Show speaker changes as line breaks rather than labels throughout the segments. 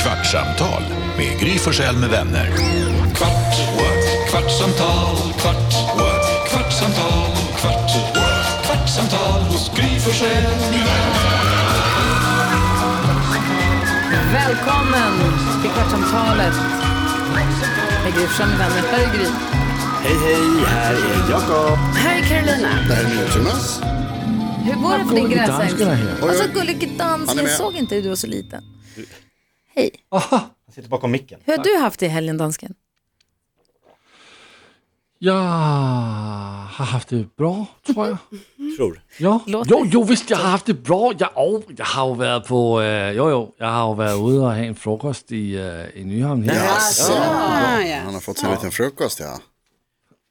Kvartsamtal med Gry Forssell med vänner. Kvart, what? kvartsamtal, kvart, what? kvartsamtal, kvart, what? kvartsamtal hos Gry Forssell med vänner.
Välkommen till Kvartsamtalet med Gry Forssell med vänner. Här är Gry.
Hej, hej, här är Jakob.
Här är Carolina.
Det här är NyhetsJonas.
Hur går det för din gräsängd?
Och så Alltså, gullig dans,
Han är
jag
med.
såg inte hur du var så liten.
Han sitter bakom micken.
Hur har du haft det i helgen, dansken?
Jag har haft det bra, tror jag.
Tror.
Ja.
Låter-
Jo, jo, visst, jag har haft det bra. Jag, oh, jag har ju varit på... eh, jo, jo, jag har ju varit ute och haft en frukost i, eh, i Nyhamn. Här.
Ah, ja.
Han har fått sig en liten frukost, ja.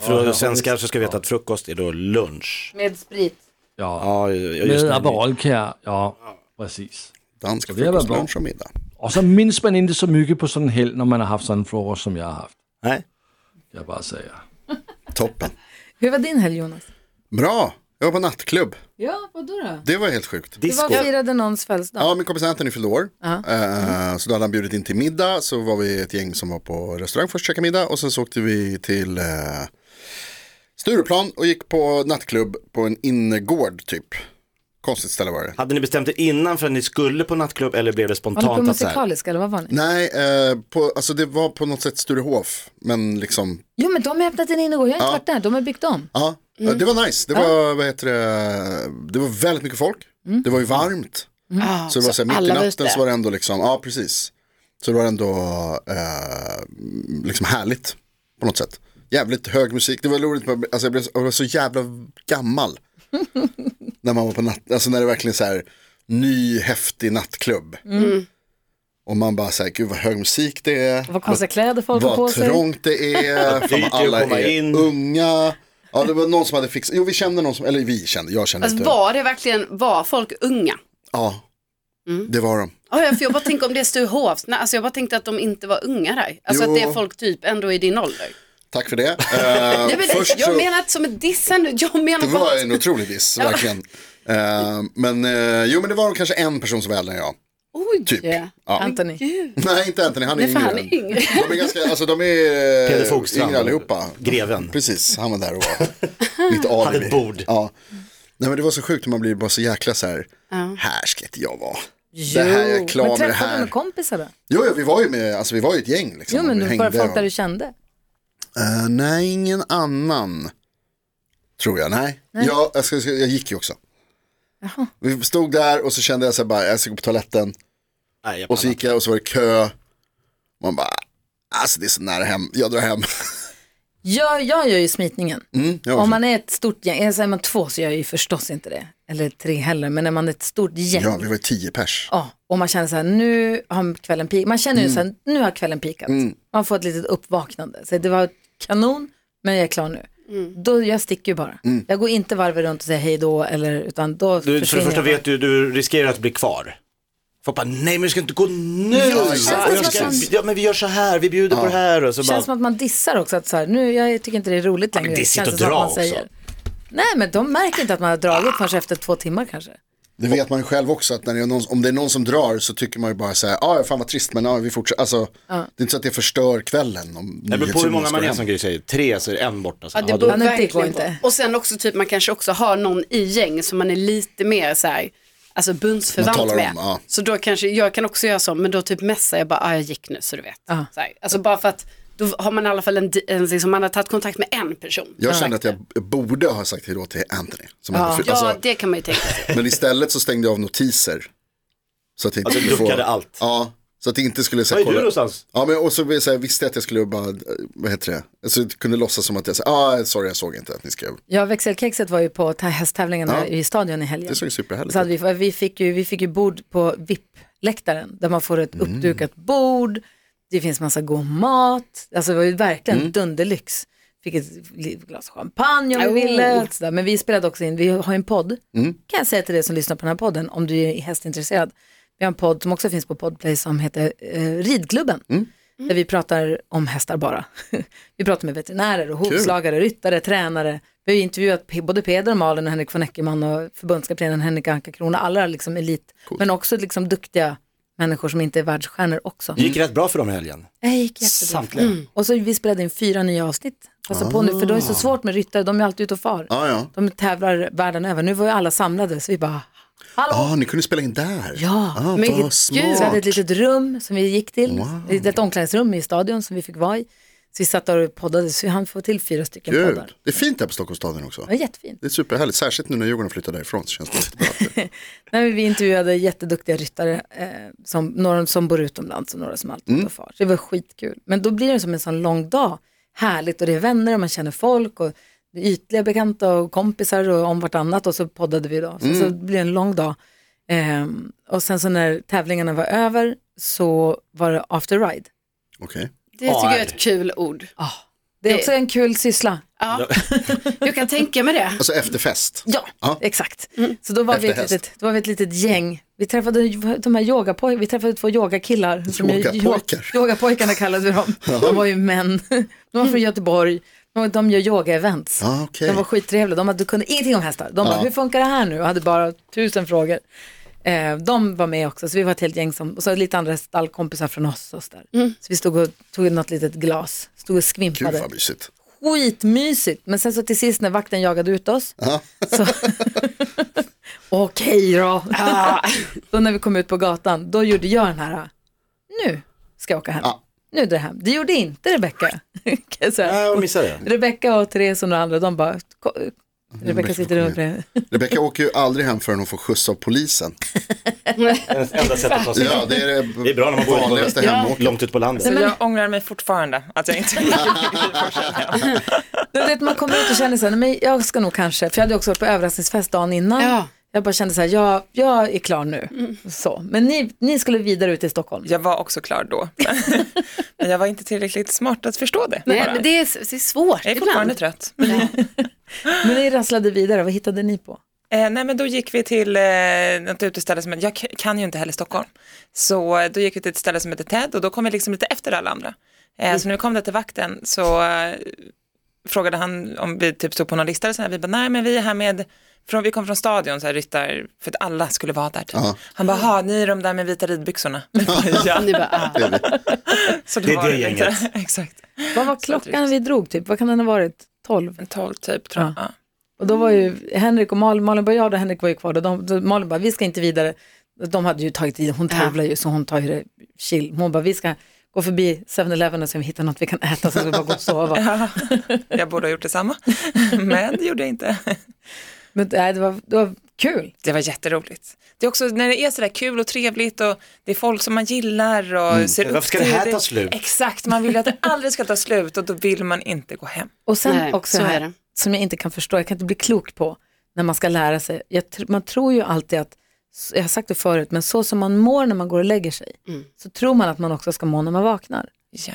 För svenskar så ska vi veta att frukost är då lunch.
Med sprit.
Ja.
Ja, just
Med
det.
Aperolkär, ja, precis.
Dansk
det är väl
frukost,
bra.
lunch och middag.
Och så minns man inte så mycket på sån helg när man har haft sån frukost som jag har haft.
Nej.
Jag bara säger.
Toppen.
Hur var din helg, Jonas?
Bra, jag var på nattklubb.
Ja, vadå då?
Det var helt sjukt.
Du var
Disco.
firade någons födelsedag.
Ja, min kompis Anthony fyllde år. Eh, Så då hade han bjudit in till middag. Så var vi ett gäng som var på restaurang först och käkade middag. Och sen så åkte vi till eh, Stureplan och gick på nattklubb på en innergård typ. Konstigt ställe var det.
Hade ni bestämt er innan för att ni skulle på nattklubb eller blev det
Var ni på
spontant att så här?
musikalisk eller vad var ni?
Nej, eh, på, alltså det var på något sätt Sturehof. Men liksom,
Jo, men de har öppnat en innergård. Jag har inte varit där. De har byggt om.
ja. Ja, Det var nice. Det var, vad heter det, det var väldigt mycket folk. Det var ju varmt.
Ah,
Så det var så här, mitt i
alla var
natten
ute.
så var det ändå liksom, ja precis. Så det var ändå eh, liksom härligt på något sätt. Jävligt hög musik, det var roligt, med- alltså jag, blev, jag var så jävla gammal. när man var på natt, alltså när det verkligen så här ny häftig nattklubb. Och man bara så här, gud vad hög musik det är,
Vad konstiga kläder folk har på
vad
sig.
trångt det är, fan,
dyrt det är att
alla
komma
är
in.
unga. Ja det var någon som hade fixat, jo vi kände någon som, eller vi kände, jag kände
Alltså
inte.
var det verkligen, var folk unga?
Ja, det var de.
Oh, ja, för jag bara tänker om det är Sturehof, Nej, alltså jag bara tänkte att de inte var unga där. Alltså
Jo.
att det är folk typ ändå i din ålder.
Tack för det. Eh,
Nej, men,
först
jag
så-
menar inte som en diss ändå, jag menar
Det var
bara...
en otrolig diss, verkligen. Eh, men eh, jo, men det var kanske en person som var äldre än jag.
Oj,
typ.
ja.
Ja.
Anthony.
Nej, inte Anthony, han är
Nej, för han är
yngre.
yngre.
De är ganska, alltså de är
Peder
eh,
Fogstrand.
yngre allihopa.
Greven.
Precis, han var där och var mitt alibi.
ett bord.
Ja. Nej men det var så sjukt, man blir bara så jäkla så här, här ska inte jag vara. Det här är jag klar
men
med det
träffade du
här.
med kompisar då?
Jo, ja, vi var ju med, alltså vi var ju ett gäng liksom.
Jo, men
vi
du bara folk
och-
där du kände.
Eh, nej, ingen annan. Tror jag, nej. Jag, jag, ska, jag ska- jag gick ju också. Vi stod där och så kände jag så här bara, jag ska gå på toaletten.
Nej, jag
Och så
pallar
gick jag och så var det kö. Man bara, alltså det är så nära hem, jag drar hem.
Jag, jag gör ju smitningen.
Mm, jag var
Om
så-
man är ett stort gäng, är så- är man två så gör jag ju förstås inte det. Eller tre heller, men när man är ett stort gäng.
Ja, vi var ju tio pers.
Ja, och man känner så här, nu har kvällen peak. Man
Mm.
känner ju så här, nu har kvällen peakat. Man får ett litet uppvaknande. Så det var kanon, men jag är klar nu. Då, jag sticker ju bara.
Mm.
Jag går inte varvet runt och säger hej då, eller, utan då
Du, för det
försvinner
första
jag.
vet du, du riskerar att bli kvar. Folk bara, nej men du ska inte gå nu. Ja,
exakt.
jag ska, ja men vi gör så här, vi bjuder på det här och så
Det
bara,
känns som att man dissar också, att så här, nu, jag tycker inte det är roligt längre.
men det är sitt
känns
och
som
dra
man
också.
Nej, men de märker inte att man har dragit förrän efter två timmar kanske.
Det vet man ju själv också att när det är någon, om det är någon som drar så tycker man ju bara så här, ja ah, fan vad trist men ja, vi fortsätter. Alltså, det är inte så att det förstör kvällen. Om
det beror på hur många man är som
grej.
Gry säger, tre så är det en borta. Så,
Ja,
ja,
det
då,
beror
men det går
verkligen
inte.
på. Och sen också typ man kanske också har någon i gäng som man är lite mer så här, alltså
Man talar
bundsförvant
om,
med.
ja.
Så då kanske, jag kan också göra så, men då typ messar jag bara, ah, jag gick nu så du vet.
Ja.
Så här, alltså bara för att då har man i alla fall en, di- en liksom, man har tagit kontakt med en person.
Jag kände att jag borde ha sagt hej då till Anthony. Som ändå fly-
Ja,
alltså-
det kan man ju tänka sig.
Men istället så stängde jag av notiser. Så att jag inte
Alltså,
skulle få...
duckade allt.
Ja, så att jag inte skulle... Så
Vad
här,
är du någonstans?
Ja, men och så, vill jag säga, visste jag att jag skulle bara, eh, vad heter det? Alltså jag kunde låtsas som att jag, sa, ah, sorry jag såg inte att ni skrev.
Ja, växelkexet var ju på ta- hästtävlingarna
Ja.
i stadion i helgen.
Det såg ju superhärligt
så hade vi, vi, fick ju, vi fick ju bord på VIP-läktaren där man får ett uppdukat bord, det finns massa god mat, alltså det var ju verkligen dunderlyx. Fick ett li- glas champagne om vi
Oh.
ville, och sådär. men vi spelade också in, vi har ju en podd, kan jag säga till dig som lyssnar på den här podden, om du är hästintresserad. Vi har en podd som också finns på Podplay som heter eh, Ridklubben. Där vi pratar om hästar bara. vi pratar med veterinärer och hovslagare, ryttare, tränare. Vi har ju intervjuat P- både Peder och Malin och Henrik von Eckermann och förbundskaptenen Henrik Anka Krona, alla liksom elit, men också liksom duktiga människor som inte är världsstjärnor också.
Det gick rätt bra för dem i helgen.
Det gick jättebra.
Samtliga.
Och så vi spelade in fyra nya avsnitt. Passa på nu, för då är det så svårt med ryttare, de är alltid ute och far.
Ja, ja.
De tävlar världen över. Nu var ju alla samlade, så vi bara, hallå!
Ja, ni kunde spela in där.
Ja.
ah,
Men
vad
gud,
Så vi
smart.
hade ett litet rum som vi gick till, ett litet omklädningsrum i stadion som vi fick vara i. Så vi satt där och poddade, så han får till fyra stycken
Gud.
poddar.
Det är fint här på Stockholmsstadion också.
Det var jättefint.
Det är superhärligt, särskilt nu när Djurgården flyttar därifrån så känns det lite bra.
Nej, men vi intervjuade jätteduktiga ryttare, eh, som, några som bor utomlands och några som alltid mm. far. Så det var skitkul. Men då blir det som en sån lång dag. Härligt och det är vänner och man känner folk och det är ytliga bekanta och kompisar och om vartannat och så poddade vi då. Sen så blir det en lång dag. Ehm, och sen så när tävlingarna var över så var det after ride.
Okej.
Det tycker jag är
AR.
ett kul ord.
Ah, Det är
Det-
också en kul syssla.
Ja. Jag kan tänka mig det.
Alltså efterfest.
Ja,
Ja.
exakt. Mm. Så då var, vi ett
Efter häst.
litet, då var vi ett litet gäng. Vi träffade ju de här yogapojkarna, vi träffade två yogakillar. som ju-
Yogapojkar.
yo- Yogapojkarna kallade vi dem. De var ju män. De var från Göteborg. De- De gör yoga-events.
Ah, okej.
De var skittrevliga. De hade, kunde ingenting om hästar. De bara, hur funkar det här nu? Och hade bara tusen frågor. Eh, de var med också, så vi var ett helt gäng som, och så lite andra stallkompisar från oss. Och så, där. så vi stod och tog något litet glas, stod och
Mm. Gud
skvimpade
vad mysigt.
skitmysigt. Men sen så till sist när vakten jagade ut oss. Så... Okej då. Ah. då när vi kom ut på gatan, då gjorde jag den här. Nu ska jag åka hem.
Ja.
Nu är det hem. Det gjorde inte Rebecka. kan jag säga.
Nej, jag missade det.
Rebecka och Therese och några andra, de bara... "Ko- Rebecka sitter
kom
där uppe.
Rebecka åker ju aldrig hem förrän hon får skjuts av polisen.
Det enda sättet att ta sig
Ja, det är det,
Det är bra när man bor
vanligaste
ute på-
hemåket.
långt ut på landet.
Så jag ångrar mig fortfarande att jag inte
Du vet, man kommer ut och känner så här, nej, men jag ska nog kanske, för jag hade också varit på överraskningsfest dagen innan.
Ja.
Jag bara kände så här, jag, jag är klar nu. Så. Men ni, ni skulle vidare ut i Stockholm.
Jag var också klar då. Men jag var inte tillräckligt smart att förstå det.
Nej,
bara.
men det är, det är svårt
jag är fortfarande
ibland.
trött.
Men ni rasslade vidare, vad hittade ni på?
Eh, nej men då gick vi till eh, något uteställe som, jag k- kan ju inte heller Stockholm. Så eh, då gick vi till ett ställe som heter TED och då kom vi liksom lite efter alla andra. Eh,
Mm.
Så när vi kom där till vakten så eh, frågade han om vi typ stod på någon lista eller så här. Vi bara, nej men vi är här med, från, vi kom från stadion så här ryttar, för att alla skulle vara där typ. Han bara, ha ni är de där med vita ridbyxorna. ja.
Ni bara, ah.
Så
Det är
var
det
inte.
gänget.
Exakt.
Vad var klockan vi drog typ? Vad kan den ha varit? 12.
En tolv typ tror jag. Ja.
Och då var
Mm.
ju Henrik och Malin, Malin Bojard och Henrik var ju kvar då. De, då Malin bara, vi ska inte vidare. De hade ju tagit i, hon tävlar ju så hon tar ju det chill. Hon bara, vi ska gå förbi 7-Eleven och se om vi hittar något vi kan äta så ska vi bara gå och sova.
Ja, jag borde ha gjort detsamma, men det gjorde jag inte.
Men nej, det, var, det var kul.
Det var jätteroligt. Det är också när det är sådär kul och trevligt och det är folk som man gillar och ser
Men
upp
Mm. varför ska det
till.
här ta slut?
Exakt, man vill ju att det aldrig ska ta slut och då vill man inte gå hem.
Och sen
Nej,
också
så är
här,
det.
som jag inte kan förstå, jag kan inte bli klok på när man ska lära sig. Jag, tr- man tror ju alltid att, jag har sagt det förut, men så som man mår när man går och lägger sig,
Mm.
så tror man att man också ska må när man vaknar.
Ja.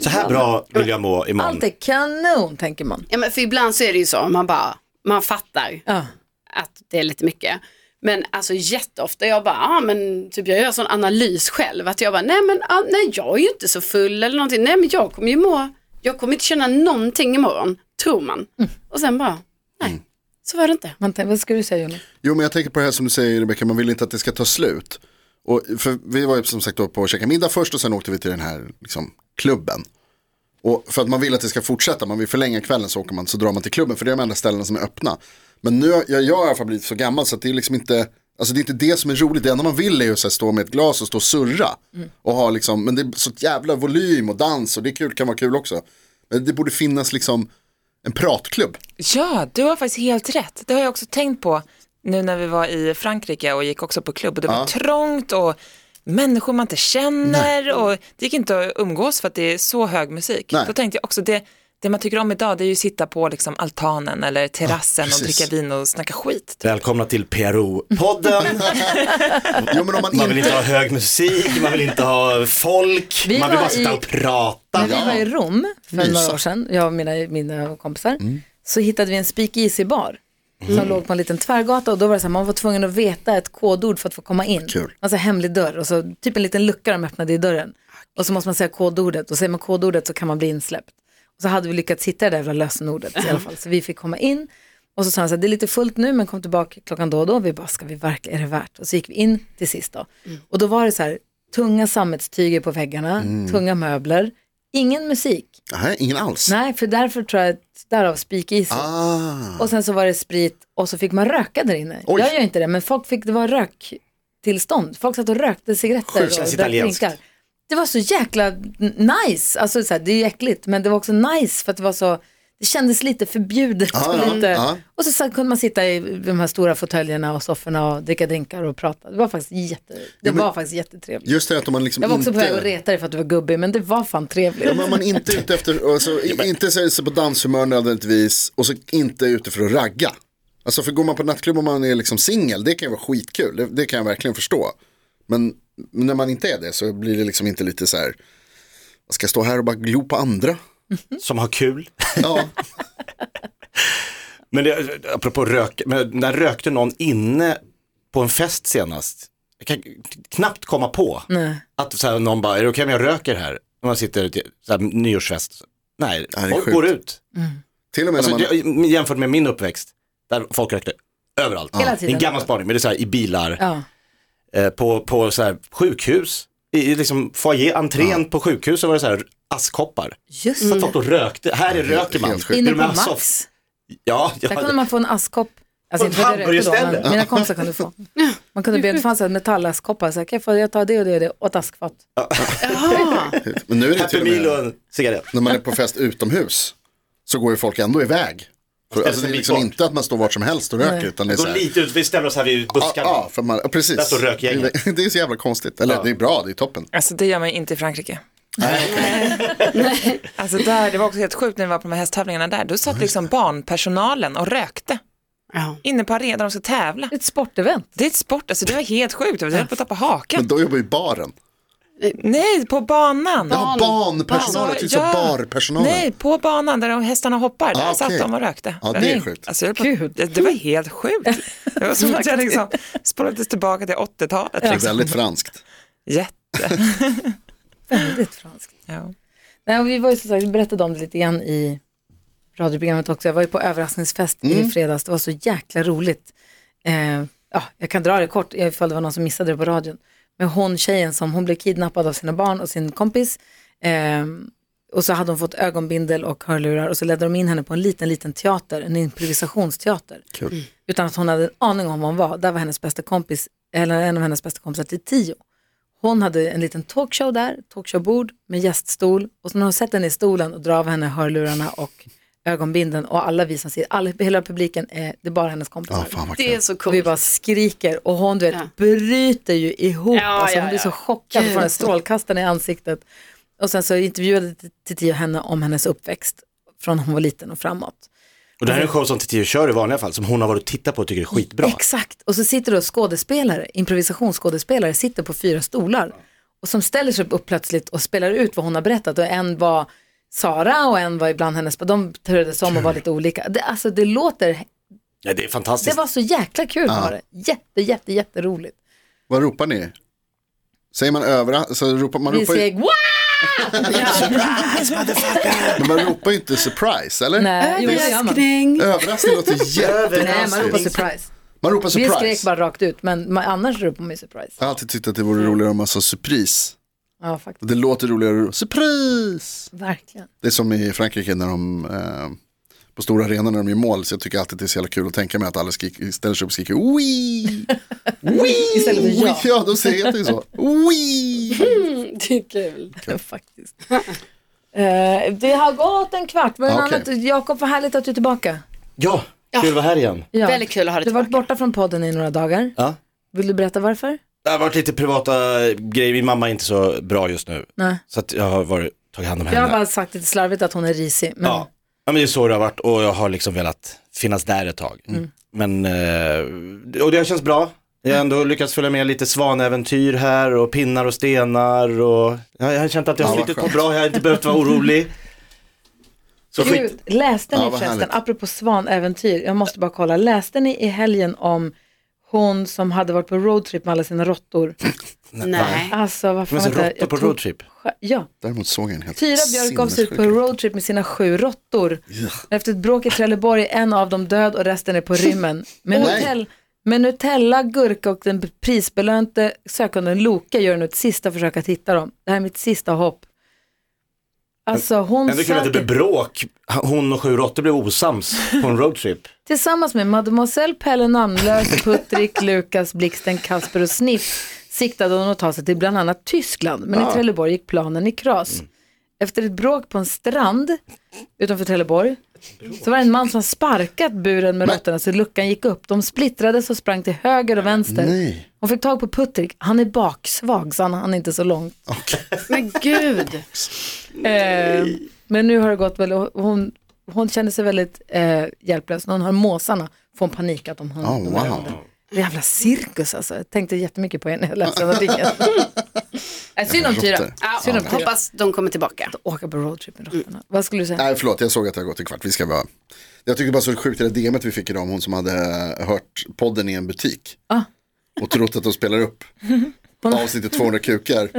Så här bra vill jag må imorgon.
Allt är kanon, tänker man.
Ja, men för ibland så är det ju så, man bara, man fattar
Ja.
att det är lite mycket. Men alltså jätteofta jag bara, ah, men typ jag gör sån analys själv att jag bara, nej men ah, nej, jag är ju inte så full eller någonting, nej men jag kommer ju må, jag kommer inte känna någonting imorgon, tror man.
Mm.
Och sen bara, nej, så var det inte.
Man tänker, vad ska du säga Jonas?
Jo men jag tänker på det här som du säger Rebecka, man vill inte att det ska ta slut. Och, för vi var ju som sagt då på att käka middag först och sen åkte vi till den här liksom, klubben. Och för att man vill att det ska fortsätta, man vill förlänga kvällen så åker man, så drar man till klubben för det är de enda ställena som är öppna. Men nu, jag, jag har i alla fall blivit så gammal så att det är liksom inte, alltså det är inte det som är roligt, det enda man vill är ju så här, stå med ett glas och stå och surra. Och ha liksom, men det är så jävla volym och dans och det är kul, kan vara kul också. Men det borde finnas liksom en pratklubb.
Ja, du har faktiskt helt rätt. Det har jag också tänkt på nu när vi var i Frankrike och gick också på klubb och det var trångt och människor man inte känner och det gick inte att umgås för att det är så hög musik.
Nej.
Då tänkte jag också det, det man tycker om idag det är ju att sitta på liksom altanen eller terrassen och
precis.
dricka vin och snacka skit.
Välkomna till PRO-podden.
Jo men om man
Man vill
inte,
inte ha hög musik, man vill inte ha folk,
Vi
man vill
var
bara sitta
i-
och
När
prata.
vi var i Rom för
Mysa.
några år sedan, jag och mina, mina kompisar, så hittade vi en speakeasy-bar som låg på en liten tvärgata och då var det så här, man var tvungen att veta ett kodord för att få komma in.
Kul.
Alltså hemlig dörr och så typ en liten lucka de öppnade i dörren. Och så måste man säga kodordet och säger man kodordet så kan man bli insläppt. Och så hade vi lyckats hitta det där jävla lösenordet i alla fall så vi fick komma in. Och så sa han så här, det är lite fullt nu men kom tillbaka klockan då och då. Vi bara, ska vi verkligen, är det värt? Och så gick vi in till sist då. Och då var det så här, tunga sammetstyger på väggarna, tunga möbler, ingen musik.
Nej, ingen alls.
Nej, för därför tror jag att därav speakeasy.
Ah,
Och sen så var det sprit och så fick man röka där inne.
Oj.
Jag gör inte det, men folk fick, det var röktillstånd. Folk satt och rökte cigaretter
Sjukt. Känns
och drack
italienskt.
drinkar. Det var så jäkla n- nice, alltså så här, det är ju äckligt, men det var också nice för att det var så, det kändes lite förbjudet.
Ja,
och,
Ah, ja,
lite.
ja.
och så, satt- kunde man sitta i de här stora fåtöljerna och sofforna och dricka drinkar och prata. Det var faktiskt, jätte, det var faktiskt jättetrevligt.
just det att om man liksom
Jag var
inte...
också på väg att reta dig för att du var gubbig, men det var fan trevligt.
Ja, men om man inte är ute efter, alltså, i- inte sätter sig på danshumör nödvändigtvis och så inte är ute för att ragga. Alltså för går man på nattklubb och man är liksom singel, det kan ju vara skitkul, det, det kan jag verkligen förstå. Men när man inte är det så blir det liksom inte lite så här, ska jag stå här och bara glo på andra?
Som har kul.
Ja,
Men det, apropå rök, men när rökte någon inne på en fest senast? Jag kan knappt komma på
eh,
att så här, någon bara, är det okej om jag röker här? Om man sitter i så här, nyårsfest. Nej,
Ja, det är
folk
sjukt.
går ut.
till och med
Alltså,
när man...
det, jämfört med min uppväxt, där folk rökte överallt.
Hela
Det är en
tiden.
gammal spaning, men det är så här i bilar,
Ja.
eh, på, på så här, sjukhus, i i liksom foyer, entrén på sjukhus så var det så här askkoppar.
Just
Så att
det.
folk då rökte, här är röker man.
helt sjukt.
Mm. Inne
I
på
de här
Max.
soff- Ja,
Där
ja.
kunde man få en askkopp. Alltså
På
inte för att jag rökte då,
hamburgerställe.
men mina kompisar kunde få. Man kunde be, det fanns så här metallaskkoppar, så här, kan jag, få, jag tar det och det och det och ett askfat.
Jaha,
Men nu är det till
Happy
och
Meal
med,
och en cigarett.
när man är på fest utomhus, så går ju folk ändå iväg. För,
ställer
alltså
sig
det är
en bit
liksom
bort.
inte att man står vart som helst och röker, utan det är så
Gå
här...
lite ut, vi ställer oss här vid
Ja,
buskarna.
ja, för man, ja, precis.
Där står rökgänget.
Det, det är så jävla konstigt. Eller det är bra, det är toppen.
Alltså det gör man ju inte i Frankrike. Nej. alltså där, det var också helt sjukt när vi var på de här hästtävlingarna där. Då satt liksom barnpersonalen och rökte
ja.
inne på arenan där de ska tävla.
Ett sportevent.
Det är ett sport, alltså det var helt sjukt. Jag höll på att tappa hakan.
Men då jobbar ju baren.
Nej, på banan. Alltså,
Ja, banpersonal, jag tyckte
Ja.
ja. barpersonalen.
Nej, på banan där de hästarna hoppar, där
Ah,
satt
okej.
de och rökte.
Ja, det är sjukt.
Alltså, jag höll på, det, det var helt sjukt. Det var som att jag liksom spolades tillbaka till 80-talet.
alltså.
Det är
Liksom.
väldigt franskt.
Jätte.
Väldigt franskt.
Ja.
Nej, och vi var ju som sagt, vi berättade om det lite grann i radioprogrammet också. Jag var ju på överraskningsfest i fredags. Det var så jäkla roligt. Eh, ja, jag kan dra det kort ifall det var någon som missade det på radion. Men hon, tjejen som, hon blev kidnappad av sina barn och sin kompis. Eh, och så hade hon fått ögonbindel och hörlurar och så ledde de in henne på en liten, liten teater, en improvisationsteater.
Kul.
Utan att hon hade en aning om vad hon var. Där var hennes bästa kompis, eller en av hennes bästa kompisar till tio. Hon hade en liten talkshow där, talkshowbord med gäststol. Och så när hon sätter henne i stolen och drar av henne hörlurarna och ögonbinden och alla vi som sitter, alla, hela publiken, är, det är bara hennes kompisar.
Ja, fan vad
det är
kul.
så
och vi
coolt.
bara skriker och hon du vet,
Ja.
bryter ju ihop.
Ja,
alltså, hon
ja,
blir
ja.
så chockad och får den strålkastaren i ansiktet. Och sen så intervjuade Tio henne om hennes uppväxt från hon var liten och framåt.
Och det här är en show som Tio kör i vanliga fall, som hon har varit och tittat på och tycker är skitbra.
Exakt, och så sitter då skådespelare, improvisationsskådespelare, sitter på fyra stolar och som ställer sig upp plötsligt och spelar ut vad hon har berättat och en var Sara och en var ibland hennes, de turades om och var lite olika. Det, alltså det låter,
Ja, det är
det
fantastiskt.
var så jäkla kul
Ja.
var det. Jätte, jätte, jätteroligt.
Vad ropar ni? Säger man överallt, så ropar man,
Vi
ropar ju,
skrek "Wow!"
men man ropar ju inte surprise, eller?
Nej, jo, det gör man.
Överraskning.
Överraskning låter
Nej, man ropar
jättekonstigt.
surprise.
Man ropar
Vi skrek
surprise.
bara rakt ut, men man, annars ropar man ju surprise.
Jag har alltid tyckt att det vore roligare om man sa surprise.
Ja, faktiskt.
Det låter roligare, surprise.
Verkligen.
Det är som i Frankrike när de, eh, på stora arenor när de gör mål, så jag tycker alltid det är så jävla kul att tänka mig att alla skrik, ställer sig upp och skriker oui, oui,
Istället för ja.
ja de säger inte så, oui.
Det är kul.
Faktiskt. Eh, det har gått en kvart, men
Ja, okej.
annat, Jakob, vad härligt att du är tillbaka.
Ja, kul att vara här igen.
Ja.
Väldigt kul att ha
Du
dig
har varit
tillbaka.
borta från podden i några dagar.
Ja.
Vill du berätta varför?
Det har varit lite privata grejer, min mamma är inte så bra just nu.
Nej.
Så att jag har varit, tagit hand om henne.
Jag har bara sagt lite slarvigt att hon är risig. Men
Ja. ja, men det är så det har varit och jag har liksom velat finnas där ett tag.
Mm.
Men, eh, och det har känts bra. Jag har ändå lyckats följa med lite svanäventyr här och pinnar och stenar och jag jag har känt att jag har
Ja, vad
flyttat på
skönt.
bra, jag har inte behövt vara orolig. Så skit.
Gud, läste ni
Ja, vad
förresten,
härligt.
apropå svanäventyr, jag måste bara kolla, läste ni i helgen om hon som hade varit på roadtrip med alla sina råttor?
Nej.
Alltså vad
Men
fan
så
vet jag,
råttor
jag
på
tog-
roadtrip.
Ja,
Däremot såg jag en helt
Tyra Björk gav sig ut på
sinnessjuk-
roadtrip med sina sju råttor. Efter ett bråk i Trelleborg är en av dem död och resten är på rymmen. Men
Oj.
hotell, Men Nutella, gurka och den prisbelönte sökanden Loka gör nu ett sista försök att hitta dem. Det här är mitt sista hopp. Alltså hon
Ändå typ kul att det
söker
blev bråk. Hon och sju råttor blev osams på en roadtrip.
tillsammans med Mademoiselle Pelle Namnlös, Puttrik, Lukas, Blixten, Kasper och Sniff siktade hon att ta sig till bland annat Tyskland. Men i Trelleborg gick planen i kras. Efter ett bråk på en strand utanför Trelleborg så var det en man som sparkat buren med råttorna så luckan gick upp. De splittrades och sprang till höger och vänster.
Nej.
Hon fick tag på Puttrik. Han är baksvag så han hann inte så långt.
Men gud.
Eh, men nu har det gått väl, och hon, hon känner sig väldigt eh, hjälplös. När hon hör måsarna får hon panik att de hör de
Oh, wow.
wow. Jävla cirkus alltså. Jag tänkte jättemycket på henne när jag läste den artikeln. Äh, Synd om Tyra.
Råttor.
Ja,
Synd om Tyra.
hoppas de kommer tillbaka.
Åka på roadtrip med råttorna. Vad skulle du säga?
Nej, förlåt, jag såg att det har gått en kvart. Vi ska vara... Jag tycker bara så sjukt det där DMet vi fick idag om hon som hade eh, hört podden i en butik.
Ah.
Och trott att de spelar upp avsnittet 200 kukar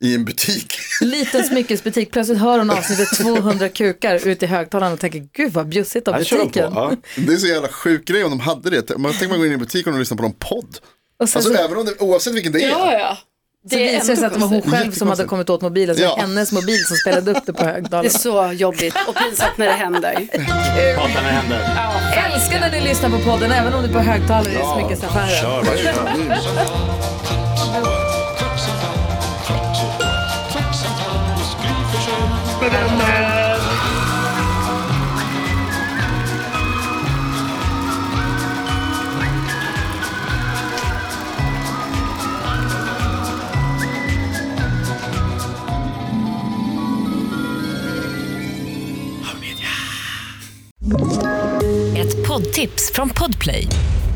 i en butik.
Liten smyckesbutik. Plötsligt hör hon avsnittet 200 kukar ute i högtalarna och tänker gud vad bjussigt av
Här kör de på.
butiken.
Ja.
Det är så jävla sjuk grej om de hade det. Man tänker man går in i en butik och de lyssnar på någon podd.
Och sen
Alltså
så,
även om det, oavsett vilken det är.
ja.
så
är
visade det sig att det var hon själv som hade
Jättekonstigt.
kommit åt mobilen. Så det var
Ja.
hennes mobil som spelade upp det på
Det är
högtalarna.
så jobbigt och pinsamt när det händer.
Hatar när det händer.
Älskar när ni lyssnar på podden även om det är på högtalare i smyckesaffären.
Kör bara.
Ett poddtips från Podplay.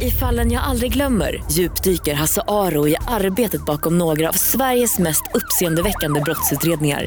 I fallen jag aldrig glömmer djupdyker Hasse Aro i arbetet bakom några av Sveriges mest uppseendeväckande brottsutredningar.